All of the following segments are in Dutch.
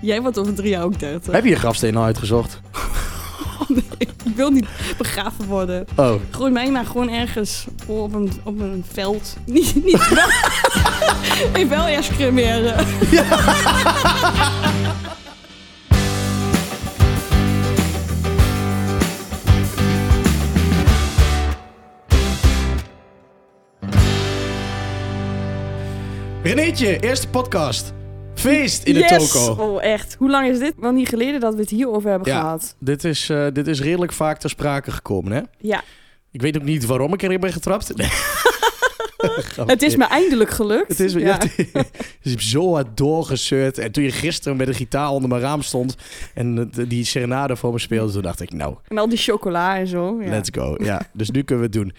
Jij wordt over drie jaar ook 30. Heb je je grafsteen al uitgezocht? Ik wil niet begraven worden. Oh, Gooi mij maar gewoon ergens op een, op een veld. Niet, niet wel. Ik wel eerst cremeren. Renéetje, eerste podcast. Feest in de yes! toko. Oh, echt. Hoe lang is dit? Wel niet geleden dat we het hierover hebben Ja. gehad. Dit is, eh, dit is redelijk vaak ter sprake gekomen, hè? Ja. Ik weet ook niet waarom ik erin ben getrapt. Nee. Grapje. Het is me eindelijk gelukt. Het is, ja. je hebt- je hebt zo hard doorgezeurd. En toen je gisteren met een gitaar onder mijn raam stond... en het- die serenade voor me speelde... toen dacht ik, nou, En al die chocola en zo. Ja. let's go. Ja, dus nu kunnen we het doen.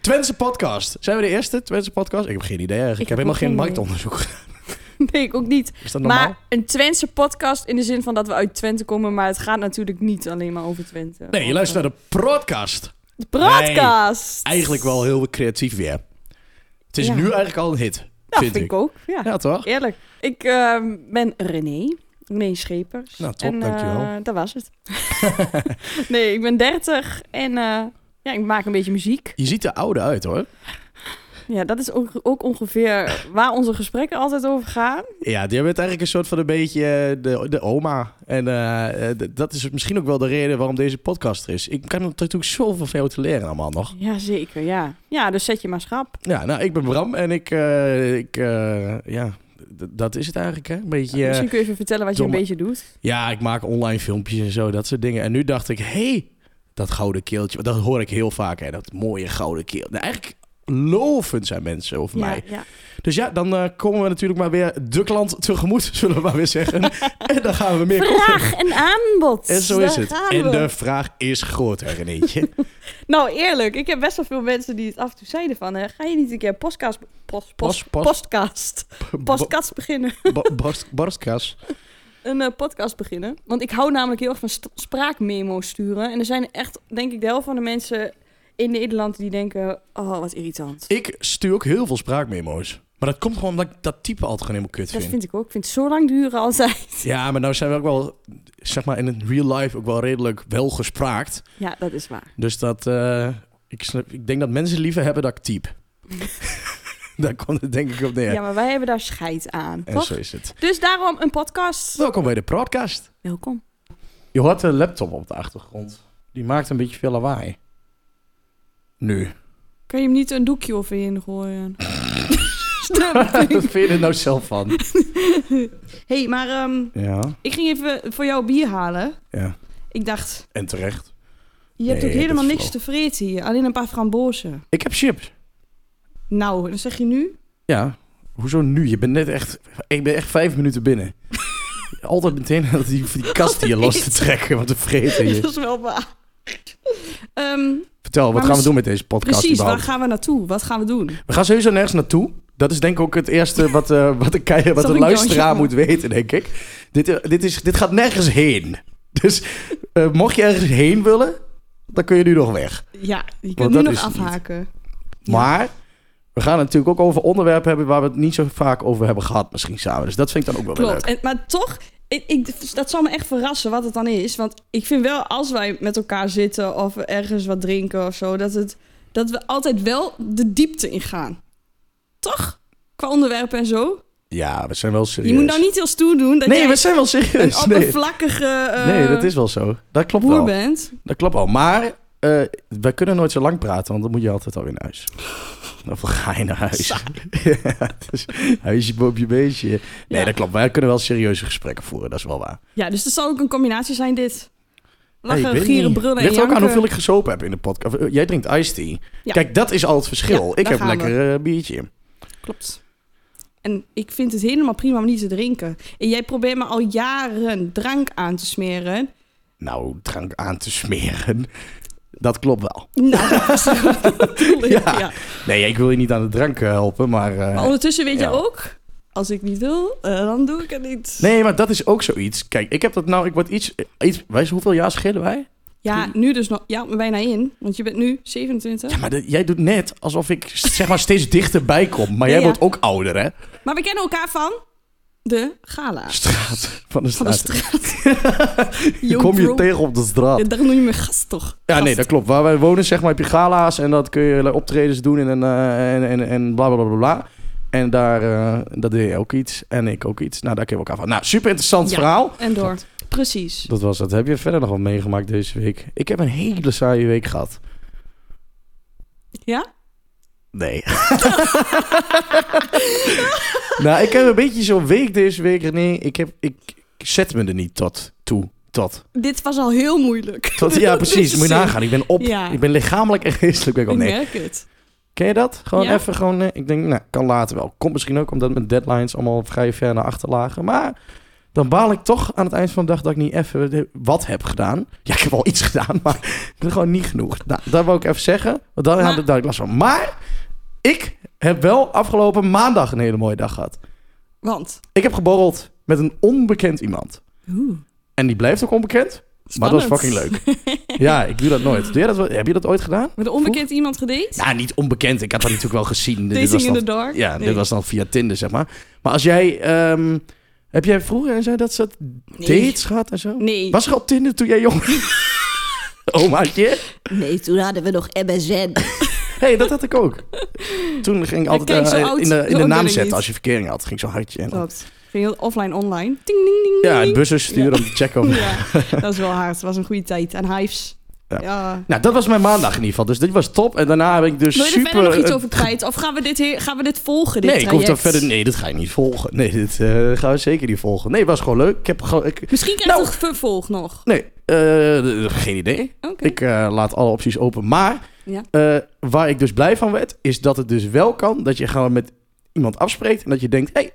Twentse podcast. Zijn we de eerste Twentse podcast? Ik heb geen idee eigenlijk. Ik, heb heb helemaal ook geen geen idee. marktonderzoek. Nee, ik ook niet. Is dat normaal? Maar een Twentse podcast in de zin van dat we uit Twente komen. Maar het gaat natuurlijk niet alleen maar over Twente. Nee, je luistert naar de podcast. De podcast. Eigenlijk wel heel creatief weer. Het is Ja. nu eigenlijk al een hit, Dat vind, ik. Nou, ook. Ja. Ja, toch? Eerlijk. Ik ehm, ben René. René Schepers. Nou, top, en, dankjewel. eh, dat was het. nee, ik ben 30 en eh, ja, ik maak een beetje muziek. Je ziet er oude uit, hoor. Ja, dat is ook, ook ongeveer waar onze gesprekken altijd over gaan. Ja, die bent eigenlijk een soort van een beetje eh, de, de oma. En eh, eh, d- dat is misschien ook wel de reden waarom deze podcast er is. Ik kan er natuurlijk zoveel van jou te leren allemaal nog. Jazeker, ja. Ja, dus zet je maar schrap. Ja, nou, ik ben Bram en ik... eh, ik eh, ja, d- dat is het eigenlijk, hè? Een beetje... eh, Misschien kun je even vertellen wat je domme- een beetje doet. ja, ik maak online filmpjes en zo, dat soort dingen. En nu dacht ik, hé, hey, dat gouden keeltje. want Dat hoor ik heel vaak, hè? Dat mooie gouden keeltje. Nou, eigenlijk lovend zijn mensen over mij. Ja, ja. Dus ja, dan eh, komen we natuurlijk maar weer de klant tegemoet, zullen we maar weer zeggen. en dan gaan we meer... Vraag en aanbod. En zo Daar is het. gaan we. En de vraag is groot, hè, Renéetje. Nou, eerlijk, ik heb best wel veel mensen die het af en toe zeiden van... Hè, ga je niet een keer podcast, pos, pos, Pos- pos- podcast, podcast beginnen? Bo- bo- borst- Borstkas. een eh, podcast beginnen. Want ik hou namelijk heel erg van st- spraakmemo's sturen. En er zijn echt, denk ik, de helft van de mensen in Nederland die denken... Oh, wat irritant. Ik stuur ook heel veel spraakmemo's. Maar dat komt gewoon omdat ik dat type altijd gewoon helemaal kut Dat vind. vind ik ook. Ik vind het zo lang duren altijd. Ja, maar nou zijn we ook wel, zeg maar, in het real life ook wel redelijk wel gespraakt. Ja, dat is waar. Dus dat, eh, ik, snap- ik denk dat mensen liever hebben dat ik type. Daar komt het denk ik op neer. Ja, maar wij hebben daar scheid aan, en toch? zo is het. Dus daarom een podcast. Welkom bij de podcast. Welkom. Je hoort de laptop op de achtergrond. Die maakt een beetje veel lawaai. Nu. Kun je hem niet een doekje of in gooien? Wat vind je er nou zelf van? hey, maar ehm, Ja. ik ging even voor jou bier halen. Ja. Ik dacht, En terecht. je hebt Nee, ook helemaal dat is niks te vreten hier. Alleen een paar frambozen. Ik heb chips. Nou, dan zeg je nu... Ja. Hoezo nu? Je bent net echt... Ik ben echt vijf minuten binnen. Altijd meteen dat die, die kast hier los te trekken. Wat een vreten Dat je. is wel waar. Ehm, Vertel, wat Maar gaan we mis- doen met deze podcast Precies, waar überhaupt? gaan we naartoe? Wat gaan we doen? We gaan sowieso nergens naartoe. Dat is denk ik ook het eerste wat, eh, wat, de, kei- wat Zal de ik luisteraar dansje moet weten, denk ik. Dit, eh, dit, is, dit gaat nergens heen. Dus eh, mocht je ergens heen willen, dan kun je nu nog weg. Ja, je Want kunt nu dat nog is het niet. afhaken. Ja. Maar we gaan het natuurlijk ook over onderwerpen hebben waar we het niet zo vaak over hebben gehad, misschien samen. Dus dat vind ik dan ook wel weer Klopt. leuk. En, maar toch, ik, ik, dat zal me echt verrassen wat het dan is. Want ik vind wel, als wij met elkaar zitten of ergens wat drinken of zo, dat, het, dat we altijd wel de diepte ingaan. Toch? Qua onderwerpen en zo. Ja, we zijn wel serieus. Je moet nou niet heel stoer doen dat Nee, jij we zijn wel een serieus. Nee. oppervlakkige eh nee, dat is wel zo. Dat klopt boer wel. bent. Dat klopt wel. Maar eh we kunnen nooit zo lang praten, want dan moet je altijd alweer naar huis. Of dan ga je naar huis. ja, dus, huisje, boopje, beestje. Nee, Ja. dat klopt. Wij kunnen wel serieuze gesprekken voeren, dat is wel waar. Ja, dus er zal ook een combinatie zijn dit. Nee, ik Lachen, weet gieren, niet. brullen en Ligt er ook aan janken. hoeveel ik gesopen heb in de podcast. Of, eh, Jij drinkt iced tea. Ja. Kijk, dat is al het verschil. Ja, ik daar heb gaan we. lekker eh, biertje. Klopt. En ik vind het helemaal prima om niet te drinken. En jij probeert me al jaren drank aan te smeren. Nou, drank aan te smeren. Dat klopt wel. Nou, dat is dat bedoel ik, Ja. ja. Nee, ik wil je niet aan de drank eh, helpen, maar... eh, Maar ondertussen weet Ja. jij ook, als ik niet wil, eh, dan doe ik het niet. Nee, maar dat is ook zoiets. Kijk, ik heb dat nou... Ik word iets... iets wij, hoeveel jaar schillen wij? Ja, nu dus nog. Ja, maar bijna in. Want je bent nu 27. Ja, maar dat- jij doet net alsof ik zeg maar steeds dichterbij kom. Maar Nee, jij ja. wordt ook ouder, hè? Maar we kennen elkaar van de gala. Straat. Van de Van de straat. straat. Je Yo, kom je bro. tegen op de Ja, straat. daar noem je me gast toch? Ja, nee, Gast. dat klopt. Waar wij wonen, zeg maar, heb je gala's en dat kun je optredens doen en, eh, en, en, en bla bla bla bla, bla. En daar eh, dat deed je ook iets en ik ook iets. Nou, daar kennen we elkaar van. Nou, super interessant Ja. verhaal. En door. Precies. Dat was het. Heb je verder nog wat meegemaakt deze week? Ik heb een hele saaie week gehad. Ja? Nee. nou, ik heb een beetje zo'n week deze week. Nee, ik, heb, ik, ik zet me er niet tot toe. Tot. Dit was al heel moeilijk. tot ja, precies. Deze Moet je zin. nagaan. Ik ben op. Ja. Ik ben lichamelijk en geestelijk. Ben ik Ik al, nee. merk het. Ken je dat? Gewoon Ja. even gewoon... eh, ik denk, nou, kan later wel. Komt misschien ook omdat mijn deadlines allemaal vrij ver naar achter lagen. Maar dan baal ik toch aan het eind van de dag dat ik niet even wat heb gedaan. Ja, ik heb wel iets gedaan, maar ik doe gewoon niet genoeg. Nou, dat wil ik even zeggen. Want daar Maar- had ik daar last van. Maar ik heb wel afgelopen maandag een hele mooie dag gehad. Want. Ik heb geborreld met een onbekend iemand. Oeh. En die blijft ook onbekend, maar dat is fucking spannend. leuk. ja, ik doe dat nooit. Doe jij dat, wel- heb je dat ooit gedaan? Met een onbekend iemand gedate? Nou, niet onbekend. Ik had dat natuurlijk wel gezien. Dit was Dating in the dan dark? ja, Nee. dit was dan via Tinder, zeg maar. Maar als jij... ehm, heb jij vroeger en zei dat ze Nee. dates gehad en zo? Nee. Was er al Tinder toen jij jong was? oh, maatje. Nee, toen hadden we nog MSN. Hé, hey, dat had ik ook. Toen ging ik altijd kijk, zo eh, oud- in de, zo in de oud ben naam ik niet. zetten als je verkering had. Ging zo hartje. En dan, Klopt. Ging heel offline online. Ting, ding, ding, ding, ja, ding. en bussen sturen om te checken of... Ja, dat is wel hard. Dat was een goede tijd. En hives. Ja. Ja. Nou, dat was mijn maandag in ieder geval. Dus dit was top. En daarna heb ik dus Wil je er super... verder nog iets eh, over kwijt? Of gaan we dit, he- gaan we dit volgen, dit Nee, ik hoef traject? daar verder... Nee, dit ga ik niet volgen. Nee, dit eh, gaan we zeker niet volgen. Nee, het was gewoon leuk. Ik heb gewoon... Ik, Misschien krijgt Nou. het vervolg nog. nee, eh, geen idee. Oké. Ik eh, laat alle opties open. Maar Ja. eh, waar ik dus blij van werd, is dat het dus wel kan dat je gewoon met iemand afspreekt en dat je denkt: hey,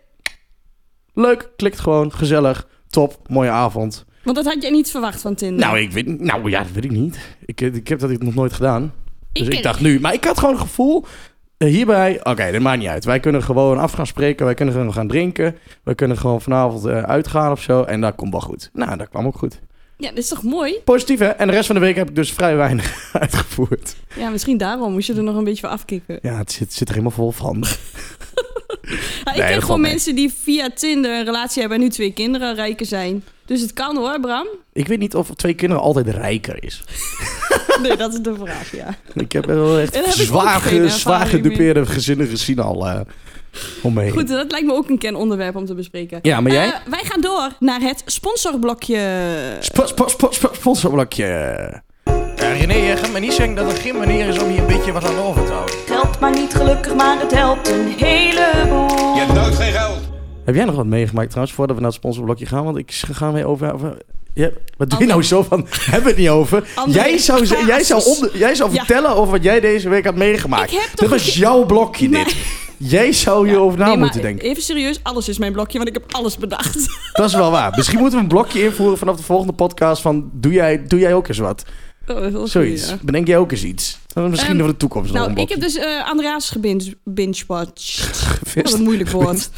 leuk, klikt gewoon, gezellig, top, mooie avond. Want dat had jij niet verwacht van Tinder. Nou, ik weet, niet- nou ja, dat weet ik niet. Ik, eh, ik heb dat nog nooit gedaan. Dus ik, ken- dacht nu, maar ik had gewoon het gevoel. eh, Hierbij, oké, dat maakt niet uit. Wij kunnen gewoon af gaan spreken. Wij kunnen gewoon gaan drinken. Wij kunnen gewoon vanavond eh, uitgaan of zo. En dat komt wel goed. Nou, dat kwam ook goed. Ja, dat is toch mooi? Positief, hè? En de rest van de week heb ik dus vrij weinig uitgevoerd. Ja, misschien daarom moest je er nog een beetje voor afkicken. Ja, het zit, zit er helemaal vol van. Nou, ik Nee, dat ken gewoon valt mee. mensen die via Tinder een relatie hebben en nu twee kinderen rijker zijn. Dus het kan hoor, Bram. Ik weet niet of twee kinderen altijd rijker is. Nee, dat is de vraag, ja. Ik heb wel echt En daar heb ik zwaar, ook geen ervaring zwaar gedupeerde gezinnen gezien al eh omheen. Goed, dat lijkt me ook een kenonderwerp om te bespreken. Ja, maar jij? Eh, wij gaan door naar het sponsorblokje. Spo- spo- spo- spo- Sponsorblokje. Ja, René, jij gaat me niet zeggen dat er geen manier is om hier een beetje wat aan over te houden. Geld maar niet gelukkig, maar het helpt een heleboel. Je hebt nooit geen geld. Heb jij nog wat meegemaakt trouwens, voordat we naar het sponsorblokje gaan? Want ik ga weer over... over ja, wat doe je André. nou zo van, hebben we het niet over? André, Jij zou, ze- jij zou, basis. onder- jij zou Ja. vertellen over wat jij deze week had meegemaakt. Ik heb Dit toch was een- jouw blokje, dit. Jij zou hierover na Nee, maar moeten denken. Even serieus, alles is mijn blokje, want ik heb alles bedacht. Dat is wel waar. Misschien moeten we een blokje invoeren vanaf de volgende podcast van doe jij, doe jij ook eens wat. Oh, dat is wel Zoiets. goed, ja. Bedenk jij ook eens iets. Dan misschien Ehm, voor de toekomst nog Nou, een ik blokje. heb dus eh Andreas gebinge- binge-watched. Wat Vist. een moeilijk woord.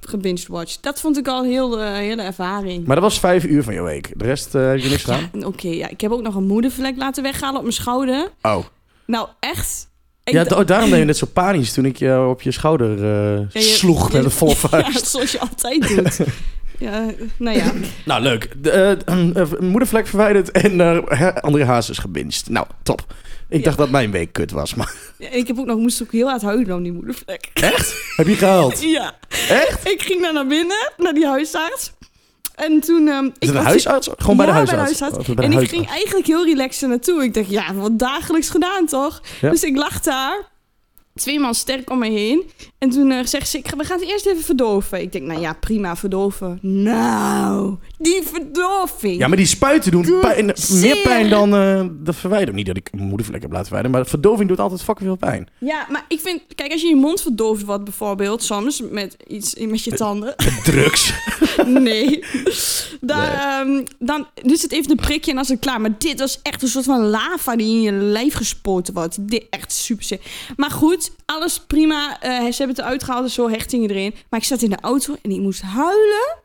Gebinge-watched. Dat vond ik al een heel, eh, hele ervaring. Maar dat was vijf uur van je week. De rest eh, heb je niks gedaan? Oké, ja, ik heb ook nog een moedervlek laten weghalen op mijn schouder. Oh. Nou, echt. Ik Ja, d- da- oh, daarom deed je net zo panisch toen ik je op je schouder eh, Ja, je- sloeg je- met een volle Ja, vuist. zoals je altijd doet. ja, nou ja. Nou, leuk. De, eh, eh, moedervlek verwijderd en eh, hè, André Haas is gebinst. Nou, top. Ik Ja. dacht dat mijn week kut was, maar Ja, Ik heb ook nog, moest ook heel hard huilen om die moedervlek. echt? Heb je gehuild? Ja. Echt? Ik ging daar naar binnen, naar die huisarts. En toen... ehm, ik Is het een was- huisarts? Gewoon bij de Ja, huisarts? Oh, bij de en ik huisarts. ging eigenlijk heel relaxed er naartoe. Ik dacht, ja, wat dagelijks gedaan toch? Ja. Dus ik lag daar. Twee man sterk om me heen. En toen eh, zegt ze, ik ga, we gaan het eerst even verdoven. Ik denk, nou ja, prima, verdoven. Nou, die verdoving. Ja, maar die spuiten doen Doe pijn, meer zeer. pijn dan eh de verwijdering. Niet dat ik mijn moedervlek heb laten verwijderen, maar verdoving doet altijd fucking veel pijn. Ja, maar ik vind, kijk, als je je mond verdoofd wordt bijvoorbeeld, soms met iets met je tanden. Drugs. nee. Dan, ehm, dan dus het even een prikje en dan is het klaar. Maar dit was echt een soort van lava die in je lijf gespoten wordt. Dit echt super sick. Maar goed, alles prima. Eh, ze hebben het eruit gehaald en zo hechtingen erin. Maar ik zat in de auto en ik moest huilen.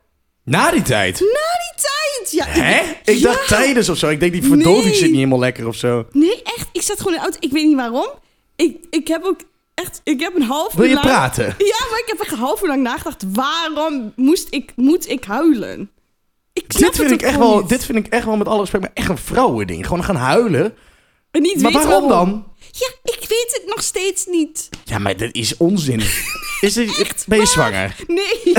Na die tijd. Na die tijd! Ja, ik- Hè? Ik Ja. dacht tijdens of zo. Ik denk die verdoving Nee. zit niet helemaal lekker of zo. Nee, echt. Ik zat gewoon in de auto. Ik weet niet waarom. Ik, ik heb ook echt, ik heb een half uur Wil je lang- praten? Ja, maar ik heb echt een half uur lang nagedacht. Waarom moest ik, moet ik huilen? Ik snap Dit vind, het ik echt gewoon wel, niet. dit vind ik echt wel met alle respect, maar echt een vrouwending. Gewoon gaan huilen. En niet maar weten waarom dan? Ja, ik weet het nog steeds niet. Ja, maar dit is onzin. Is dit, ben je zwanger? Nee.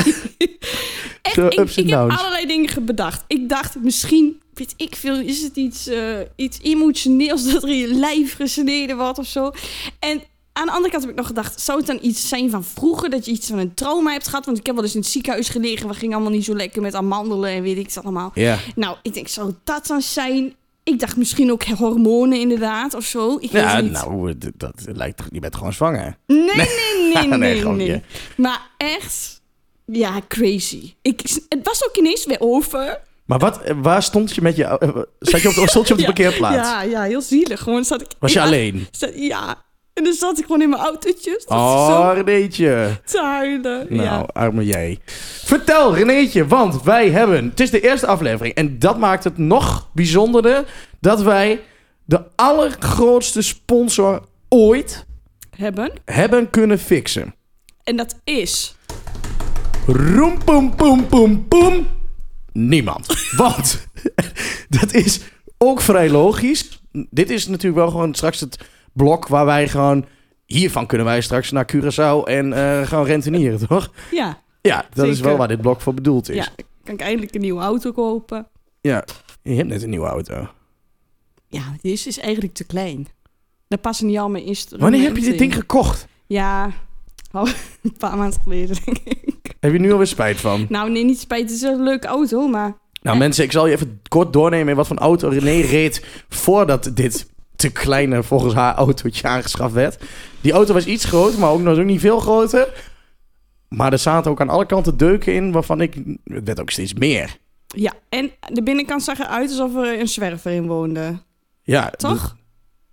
Echt, De ik, ups en ik heb downs. allerlei dingen ge- bedacht. Ik dacht, misschien, weet ik veel, is het iets, eh, iets emotioneels dat er in je lijf gesneden wordt of zo. En aan de andere kant heb ik nog gedacht, zou het dan iets zijn van vroeger, dat je iets van een trauma hebt gehad? Want ik heb wel eens in het ziekenhuis gelegen, we gingen allemaal niet zo lekker met amandelen en weet ik het allemaal. Ja. Nou, ik denk, zou dat dan zijn? Ik dacht misschien ook hormonen inderdaad of zo. Ik weet Ja, het niet. nou, eh, d- dat lijkt toch... Je bent gewoon zwanger. Nee, nee, nee, Nee, nee. nee, gewoon niet. Maar echt, ja, crazy. Ik, het was ook ineens weer over. Maar wat, eh, waar stond je met je... eh, Zat je op de, stond je op de Ja, parkeerplaats? Ja, ja, heel zielig. Gewoon zat ik... Was je ja, alleen? zat- ja. En dan zat ik gewoon in mijn autootje. Zat ik Oh, zo Renéetje. te huilen. Nou, Ja. arme jij. Vertel, Renéetje, want wij hebben... Het is de eerste aflevering en dat maakt het nog bijzonderder... dat wij de allergrootste sponsor ooit Hebben. hebben kunnen fixen. En dat is... Roem, poem, poem, poem, poem. Niemand. Want dat is ook vrij logisch. Dit is natuurlijk wel gewoon straks het blok waar wij gewoon... Hiervan kunnen wij straks naar Curaçao en eh, gaan rentenieren, toch? Ja. Ja, dat is Zeker. wel waar dit blok voor bedoeld is. ja. Kan ik eindelijk een nieuwe auto kopen? Ja, je hebt net een nieuwe auto. Ja, deze is eigenlijk te klein. Daar passen niet al mijn instrumenten Wanneer heb je dit in. ding gekocht? Ja, oh, een paar maanden geleden denk ik. Heb je nu alweer spijt van? Nou nee, niet spijt. Het is een leuke auto, maar... Nou mensen, ik zal je even kort doornemen in wat voor een auto René reed voordat dit te kleine volgens haar autootje aangeschaft werd. Die auto was iets groter, maar ook nog ook niet veel groter. Maar er zaten ook aan alle kanten deuken in waarvan ik... Het werd ook steeds meer. Ja, en de binnenkant zag eruit alsof er een zwerver in woonde. Ja, Toch?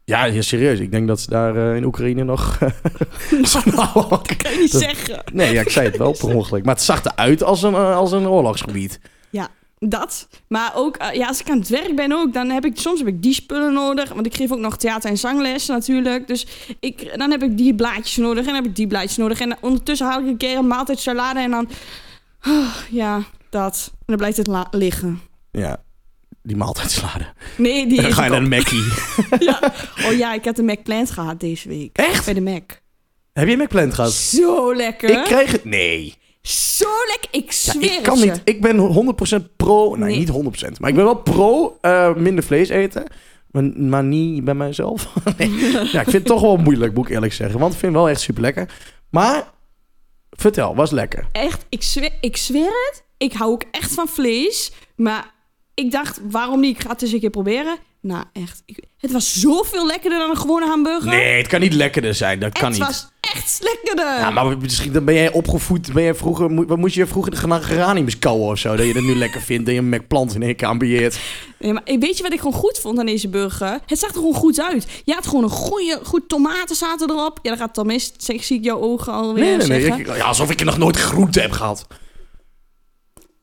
Ja, ja, serieus. Ik denk dat ze daar eh, in Oekraïne nog... nou, Kan je niet zeggen. nee, ja, ik zei het wel per ongeluk. Maar het zag eruit als een, eh, als een oorlogsgebied. Dat. Maar ook, eh, ja, als ik aan het werk ben ook, dan heb ik soms heb ik die spullen nodig. Want ik geef ook nog theater- en zangles natuurlijk. Dus ik, dan heb ik die blaadjes nodig en dan heb ik die blaadjes nodig. En ondertussen haal ik een keer een maaltijd salade en dan... ah, ja, dat. En dan blijft het la- liggen. Ja, die maaltijd sladen. Nee, die En dan is ga je ook- naar de Mackie. ja. Oh ja, ik heb de Mac Plant gehad deze week. Echt? Bij de Mac. Heb je McPlant gehad? Zo lekker. Ik krijg het. Nee. Zo lekker. Ik Ja, zweer ik kan het je. niet. Ik ben 100% pro. Nee, Nee. niet 100%. Maar ik ben wel pro eh, minder vlees eten. Maar, maar niet bij mijzelf. Nee. Ja, ik vind het toch wel moeilijk, moet ik eerlijk zeggen. Want ik vind het wel echt super lekker. Maar vertel, was lekker. Echt, ik zweer, ik zweer het. Ik hou ook echt van vlees. Maar ik dacht, waarom niet? Ik ga het eens een keer proberen. Nou, echt. ik- het was zoveel lekkerder dan een gewone hamburger. Nee, het kan niet lekkerder zijn. Dat kan het niet. was eh, echt lekkerder. Ja, maar misschien dan ben jij opgevoed. Ben jij vroeger, mo- wat moest je vroeger de geraniums kouwen of zo? Dat je dat nu lekker vindt. Dat je een McPlant in één keer ambieert. Nee, maar weet je wat ik gewoon goed vond aan deze burger? Het zag er gewoon goed uit. Je had gewoon een goede, goed tomaten zaten erop. Ja, dat gaat het dan mis. Zeg- Zie ik jouw ogen alweer Nee, nee, nee. zeggen. Ik- ja, alsof ik nog nooit groente heb gehad.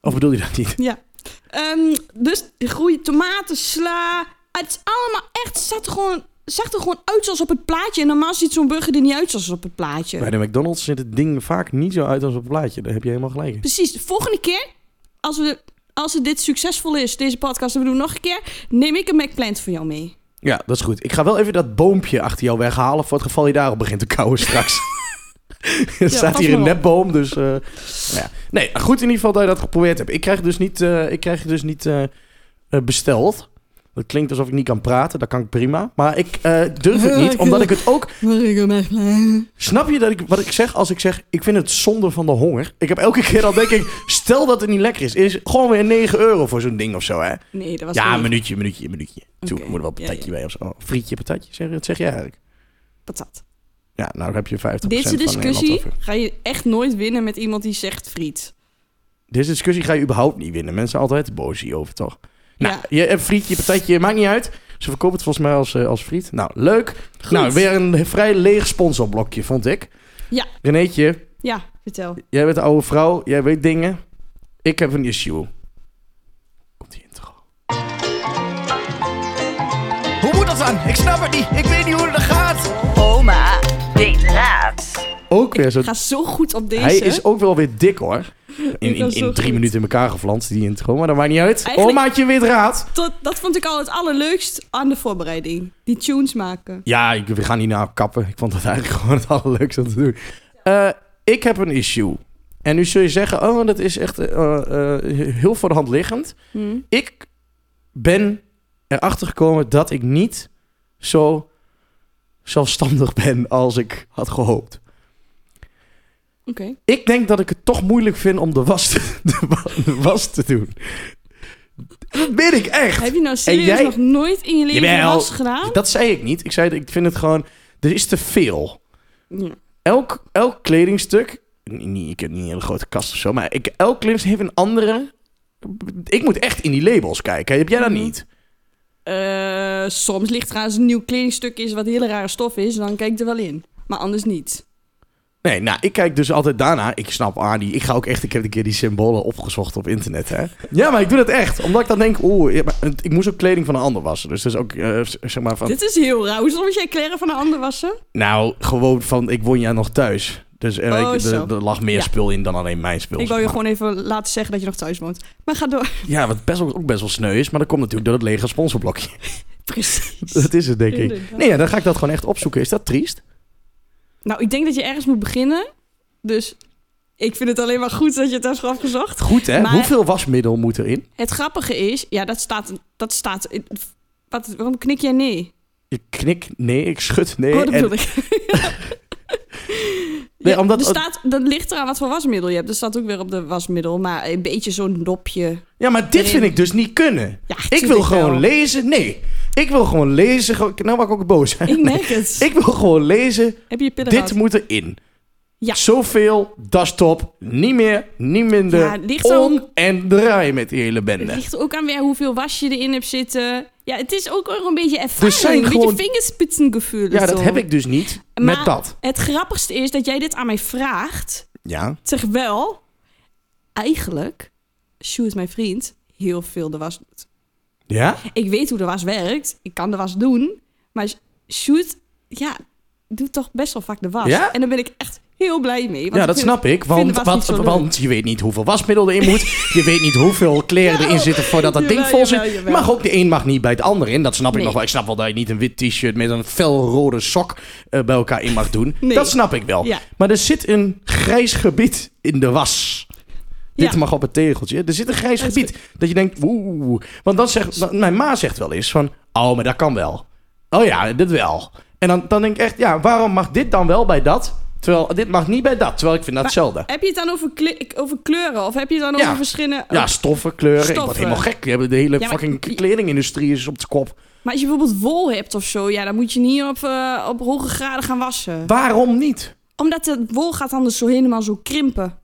Of bedoel je dat niet? Ja. Ehm, dus groeien tomaten, sla. Ah, Het is allemaal echt, het zat er gewoon, zag er gewoon uit zoals op het plaatje. En normaal ziet zo'n burger er niet uit zoals op het plaatje. Bij de McDonald's ziet het ding vaak niet zo uit als op een plaatje. Daar heb je helemaal gelijk in. Precies, de volgende keer, als, we, als het dit succesvol is, deze podcast, en we doen het nog een keer, neem ik een McPlant voor jou mee. Ja, dat is goed. Ik ga wel even dat boompje achter jou weghalen... voor het geval je daarop begint te kauwen straks. Er staat pas hier maar een op. nepboom, dus... eh, nou ja. Nee, goed in ieder geval dat je dat geprobeerd hebt. Ik krijg dus niet, eh, ik krijg dus niet eh, eh, besteld. Dat klinkt alsof ik niet kan praten. Dat kan ik prima. Maar ik eh, durf het niet, omdat ik het ook Mag ik hem echt Snap je dat ik, wat ik zeg als ik zeg, ik vind het zonde van de honger? Ik heb elke keer al denk ik, stel dat het niet lekker is. Is gewoon weer 9 euro voor zo'n ding of zo, hè? Nee, dat was Ja, niet. een minuutje, minuutje, minuutje. Toen Oké. moet er wel een Ja, patatje bij of zo. Oh, Frietje, patatje, zeg, dat zeg je eigenlijk. patat. Ja, nou dan heb je 50% Deze van discussie Nederland over. ga je echt nooit winnen met iemand die zegt friet. Deze discussie ga je überhaupt niet winnen. Mensen zijn altijd boos hierover, toch? Nou, Ja. je hebt frietje, patatje, maakt niet uit. Ze verkopen het volgens mij als, eh, als friet. Nou, leuk. Nou, weer een vrij leeg sponsorblokje, vond ik. Ja. Renéetje, Ja, vertel. Jij bent een oude vrouw, jij weet dingen. Ik heb een issue. Komt die intro. Hoe moet dat dan? Ik snap het niet. Ik weet niet hoe dat gaat. Oma, weet raad. ook weer zo... Ik ga zo goed op deze. Hij is ook wel weer dik, hoor. In, in, was in zo drie goed. minuten in elkaar geflanst, die intro. Maar dat maakt niet uit. Eigenlijk- Omaatje weer raad. Tot, dat vond ik al het allerleukst aan de voorbereiding. Die tunes maken. Ja, ik, we gaan niet naar kappen. Ik vond dat eigenlijk gewoon het allerleukste om te doen. Eh, ik heb een issue. En nu zul je zeggen, oh, dat is echt eh, eh, heel voor de hand liggend. Hm. Ik ben erachter gekomen dat ik niet zo zelfstandig ben als ik had gehoopt. Oké. Ik denk dat ik het toch moeilijk vind om de was te, de wa- de was te doen. Dat ben ik echt. Heb je nou serieus jij- nog nooit in je leven een Jawel. was gedaan? Dat zei ik niet. Ik zei, ik vind het gewoon, er is te veel. Ja. elk, elk kledingstuk. n- niet- ik heb niet een hele grote kast of zo, maar ik, elk kledingstuk heeft een andere. Ik moet echt in die labels kijken. Heb jij dat Mhm. niet? Eh, soms ligt er als een nieuw kledingstuk is wat hele rare stof is, dan kijk ik er wel in. Maar anders niet. Nee, nou, ik kijk dus altijd daarna. Ik snap aan die. Ik ga ook echt. Ik heb een keer die symbolen opgezocht op internet. Hè? Ja, maar ik doe dat echt. Omdat ik dan denk, oeh, ja, maar het- ik moest ook kleding van een ander wassen. Dus dat is ook, eh, z- zeg maar, van. Dit is heel raar. Hoezo moet jij kleren van een ander wassen? Nou, gewoon van. Ik woon ja nog thuis. Dus er, Oh, ik- zo. er, er lag meer Ja. spul in dan alleen mijn spul. ik zeg wou je maar. gewoon even laten zeggen dat je nog thuis woont. Maar ga door. Ja, wat best wel, ook best wel sneu is. Maar dat komt natuurlijk door het lege sponsorblokje. Precies. Dat is het, denk ik. Inderdaad. Nee, ja, dan ga ik dat gewoon echt opzoeken. Is dat triest? Nou, ik denk dat je ergens moet beginnen. Dus ik vind het alleen maar goed dat je het hebt afgezocht. Goed, hè? Maar- Hoeveel wasmiddel moet erin? Het grappige is, ja, dat staat. Dat staat wat, waarom knik jij nee? Ik knik nee, ik schud nee. oh, dat en bedoel ik. Nee, Ja, omdat- er staat, dat ligt eraan wat voor wasmiddel je hebt. Dat staat ook weer op de wasmiddel, maar een beetje zo'n dopje. Ja, maar dit erin. vind ik dus niet kunnen. Ja, ik wil tuurlijk gewoon wel. lezen. Nee, ik wil gewoon lezen. gewoon- Nou, maak ik ook boos. Ik merk het. Ik wil gewoon lezen. Heb je je pillen Dit gehad? moet erin. Ja. Zoveel, dat is top. Niet meer, niet minder. Ja, het ligt zo- On en draai met die hele bende. Het ligt ook aan weer hoeveel was je erin hebt zitten. Ja, het is ook wel een beetje ervaring. zijn een gewoon- beetje vingerspitsengevoel. Ja, en dat zo. heb ik dus niet met Maar dat. Het grappigste is dat jij dit aan mij vraagt. Ja. Terwijl eigenlijk Sjoerd, mijn vriend, heel veel de was doet. Ja? Ik weet hoe de was werkt. Ik kan de was doen. Maar Sjoerd, ja, doet toch best wel vaak de was. Ja? En daar ben ik echt heel blij mee. want ja, dat vind- snap ik. vind Want, was want, niet zo leuk. want je weet niet hoeveel wasmiddel erin moet. je weet niet hoeveel kleren erin zitten voordat dat ding Jawel, vol jawel, zit. jawel. Mag ook de een mag niet bij het ander in. Dat snap ik Nee. nog wel. Ik snap wel dat je niet een wit t-shirt met een felrode sok eh, bij elkaar in mag doen. Nee. Dat snap ik wel. Ja. Maar er zit een grijs gebied in de was. Ja. Dit mag op het tegeltje. Er zit een grijs Dat is gebied. Dat je denkt, oeh. Want dan zegt, dan- mijn ma zegt wel eens van, oh, maar dat kan wel. Oh ja, dit wel. En dan, dan denk ik echt, ja, waarom mag dit dan wel bij dat? Terwijl dit mag niet bij dat. Terwijl ik vind dat Maar hetzelfde. Heb je het dan over, kle- over kleuren? Of heb je het dan Ja. over verschillende... Oh, Ja, stoffen, kleuren. Ik word Stoffen. helemaal gek. Die hebben De hele Ja, maar- fucking kledingindustrie is op de kop. Maar als je bijvoorbeeld wol hebt of zo, ja, dan moet je niet op, eh, op hoge graden gaan wassen. Waarom niet? Omdat het wol gaat anders zo helemaal zo krimpen.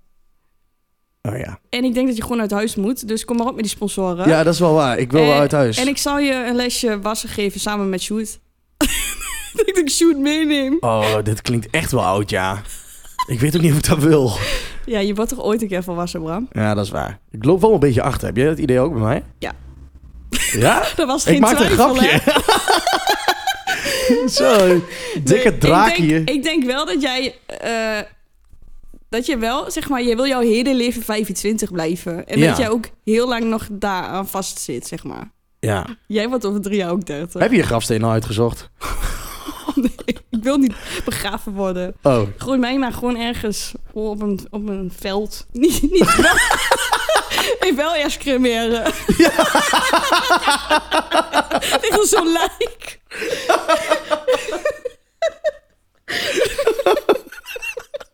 Oh ja. En ik denk dat je gewoon uit huis moet. Dus kom maar op met die sponsoren. Ja, dat is wel waar. Ik wil wel En- uit huis. Eh, En ik zal je een lesje wassen geven samen met Sjoerd. dat ik de Sjoerd meeneem. Oh, dit klinkt echt wel oud, ja. Ik weet ook niet of ik dat wil. Ja, je wordt toch ooit een keer van wassen, Bram? Ja, dat is waar. Ik loop wel een beetje achter. Heb jij dat idee ook bij mij? Ja. Ja? Dat was geen ik maak een twijfel, hè? grapje. Zo, dikke Nee, draak ik denk, hier. Ik denk wel dat jij... eh, dat je wel, zeg maar, je wil jouw hele leven 25 blijven. En Ja. dat jij ook heel lang nog daaraan vastzit, zeg maar. Ja. Jij wordt over drie jaar ook 30. Heb je je grafsteen al uitgezocht? Nee, ik wil niet begraven worden. Oh. Gooi mij maar gewoon ergens op een, op een veld. Niet, niet wel. Ik wel eerst cremeren. Ligt er zo'n lijk.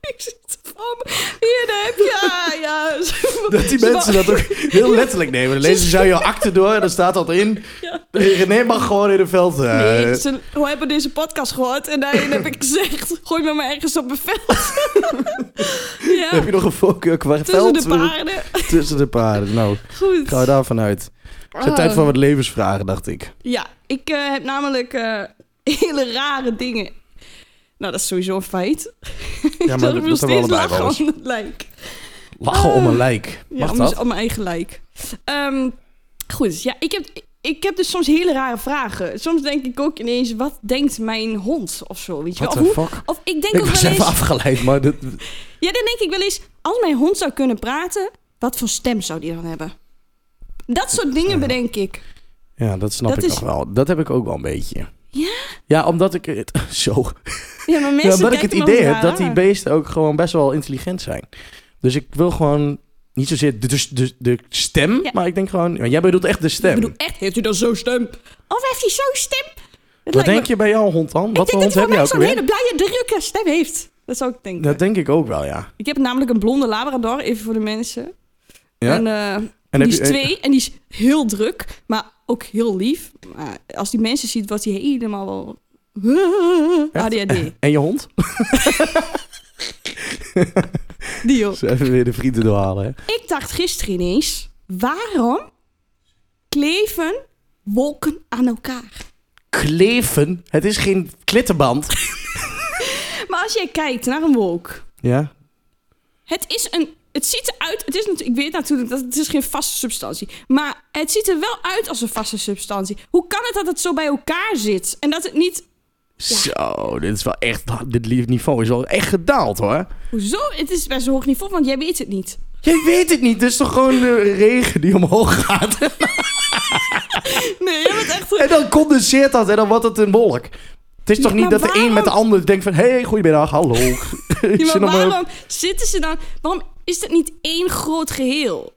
Ik zit voor me. Hier, daar heb je. Ah, ja. Dat die mensen dat ook heel letterlijk nemen. Dan lezen ze jouw akte door en dan staat dat in. Ja. René mag gewoon in het veld. eh, Nee, ze hoe hebben deze podcast gehoord en daarin heb ik gezegd: gooi me maar ergens op een veld. ja, Heb je nog een voorkeur qua tussen veld? de paarden. Tussen de paarden. Nou, Goed. gaan we daarvan uit. Het is Oh. tijd voor wat levensvragen, dacht ik. Ja, ik eh, heb namelijk eh, hele rare dingen. Nou, dat is sowieso een feit. Ja, dat ik nog hebben steeds we allebei lachen wel eens. om het lijk. Lachen om een lijk. Ja, Mag om, dus dat? om mijn eigen lijk. Ehm, goed, ja, ik heb ik heb dus soms hele rare vragen. Soms denk ik ook ineens, wat denkt mijn hond of zo, weet je wel? What Of, the hoe- fuck? of ik denk Ik ook wel was eens... even afgeleid, maar dit, Ja, dan denk ik wel eens, als mijn hond zou kunnen praten, wat voor stem zou die dan hebben? Dat soort dingen bedenk ik. ja, dat snap Dat ik is- nog wel. Dat heb ik ook wel een beetje. Ja? Ja, omdat ik het... Zo. Ja, maar mensen Ja, omdat ik kijken het me idee ook heb raar dat die aan. beesten ook gewoon best wel intelligent zijn. Dus ik wil gewoon niet zozeer de, dus de, de stem, Ja. maar ik denk gewoon... ja, Jij bedoelt echt de stem. Ik bedoel, echt, heeft hij dan zo'n stem? Of heeft hij zo'n stem? Het Wat lijkt denk me- je bij jouw hond dan? Wat ik voor denk dat hond heb hij jij wel ook zo'n weer? hele blije, drukke stem heeft. Dat zou ik denken. Dat denk ik ook wel, ja. Ik heb namelijk een blonde labrador, even voor de mensen. ja? En, eh, heb die is je- twee en die is heel druk, maar ook heel lief. Maar als die mensen ziet, wordt hij helemaal wel... ADHD. En je hond? Die joh. Ze even weer de vrienden doorhalen, hè? Ik dacht gisteren ineens, waarom kleven wolken aan elkaar? Kleven? Het is geen klittenband. Maar als jij kijkt naar een wolk, ja? het is een... Het ziet eruit, het is natuurlijk, ik weet natuurlijk dat het is geen vaste substantie Maar het ziet er wel uit als een vaste substantie. Hoe kan het dat het zo bij elkaar zit? En dat het niet. Zo, dit is wel echt... Dit niveau is wel echt gedaald, hoor. Hoezo? Het is best een hoog niveau, want jij weet het niet. Jij weet het niet. Dit is toch gewoon de regen die omhoog gaat? Nee, jij bent echt. En dan condenseert dat en dan wordt het een wolk. Het is toch Ja, niet maar dat de een met de waarom- ander denkt van... Hé, hey, goedemiddag, hallo. Ja, Ik zit maar nog maar- waarom zitten ze dan? Waarom is het niet één groot geheel?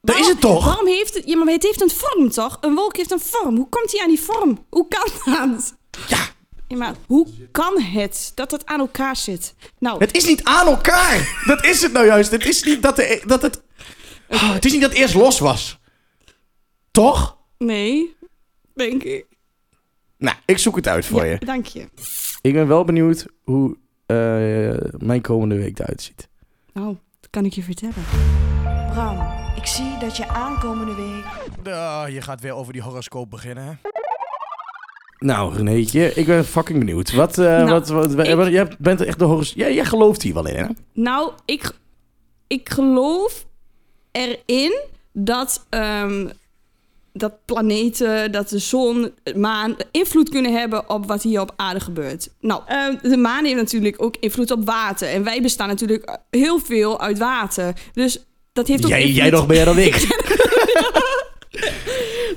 Dat is Waarom- het toch? Waarom heeft het... Ja, maar het heeft een vorm, toch? Een wolk heeft een vorm. Hoe komt hij aan die vorm? Hoe kan dat? Ja, Ja, maar hoe kan het dat het aan elkaar zit? Nou, het is niet aan elkaar. Dat is het nou juist. Het is niet dat, de, e- dat het... Ah, het is niet dat het eerst los was. Toch? nee, denk ik. Nou, ik zoek het uit voor Ja, je. dank je. Ik ben wel benieuwd hoe eh, mijn komende week eruit ziet. Nou, dat kan ik je vertellen. Bram, ik zie dat je aankomende week... Ah, je gaat weer over die horoscoop beginnen, hè? Nou, Renéetje, ik ben fucking benieuwd. Wat, eh, Nou, wat, wat, ik- wat- jij bent echt de horoscoop... Jij, jij gelooft hier wel in, hè? Nou, ik, ik geloof erin dat, ehm, dat planeten, dat de zon, de maan invloed kunnen hebben op wat hier op aarde gebeurt. Nou, ehm, de maan heeft natuurlijk ook invloed op water. En wij bestaan natuurlijk heel veel uit water. Dus dat heeft ook Jij, invloed... jij nog meer dan ik.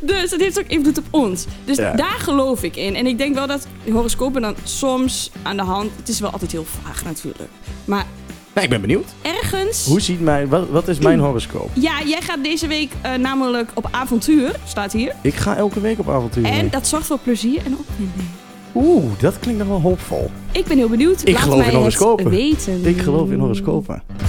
Dus dat heeft ook invloed op ons. Dus Ja. daar geloof ik in. En ik denk wel dat horoscopen dan soms aan de hand... Het is wel altijd heel vaag natuurlijk. Maar Nou, ik ben benieuwd. ergens... Hoe ziet mijn... Wat, wat is mijn horoscoop? Ja, jij gaat deze week eh, namelijk op avontuur, staat hier. Ik ga elke week op avontuur. En dat zorgt voor plezier en opwinding. Oeh, dat klinkt nog wel hoopvol. Ik ben heel benieuwd. Ik Laat geloof mij in horoscopen. Het weten. Ik geloof in horoscopen.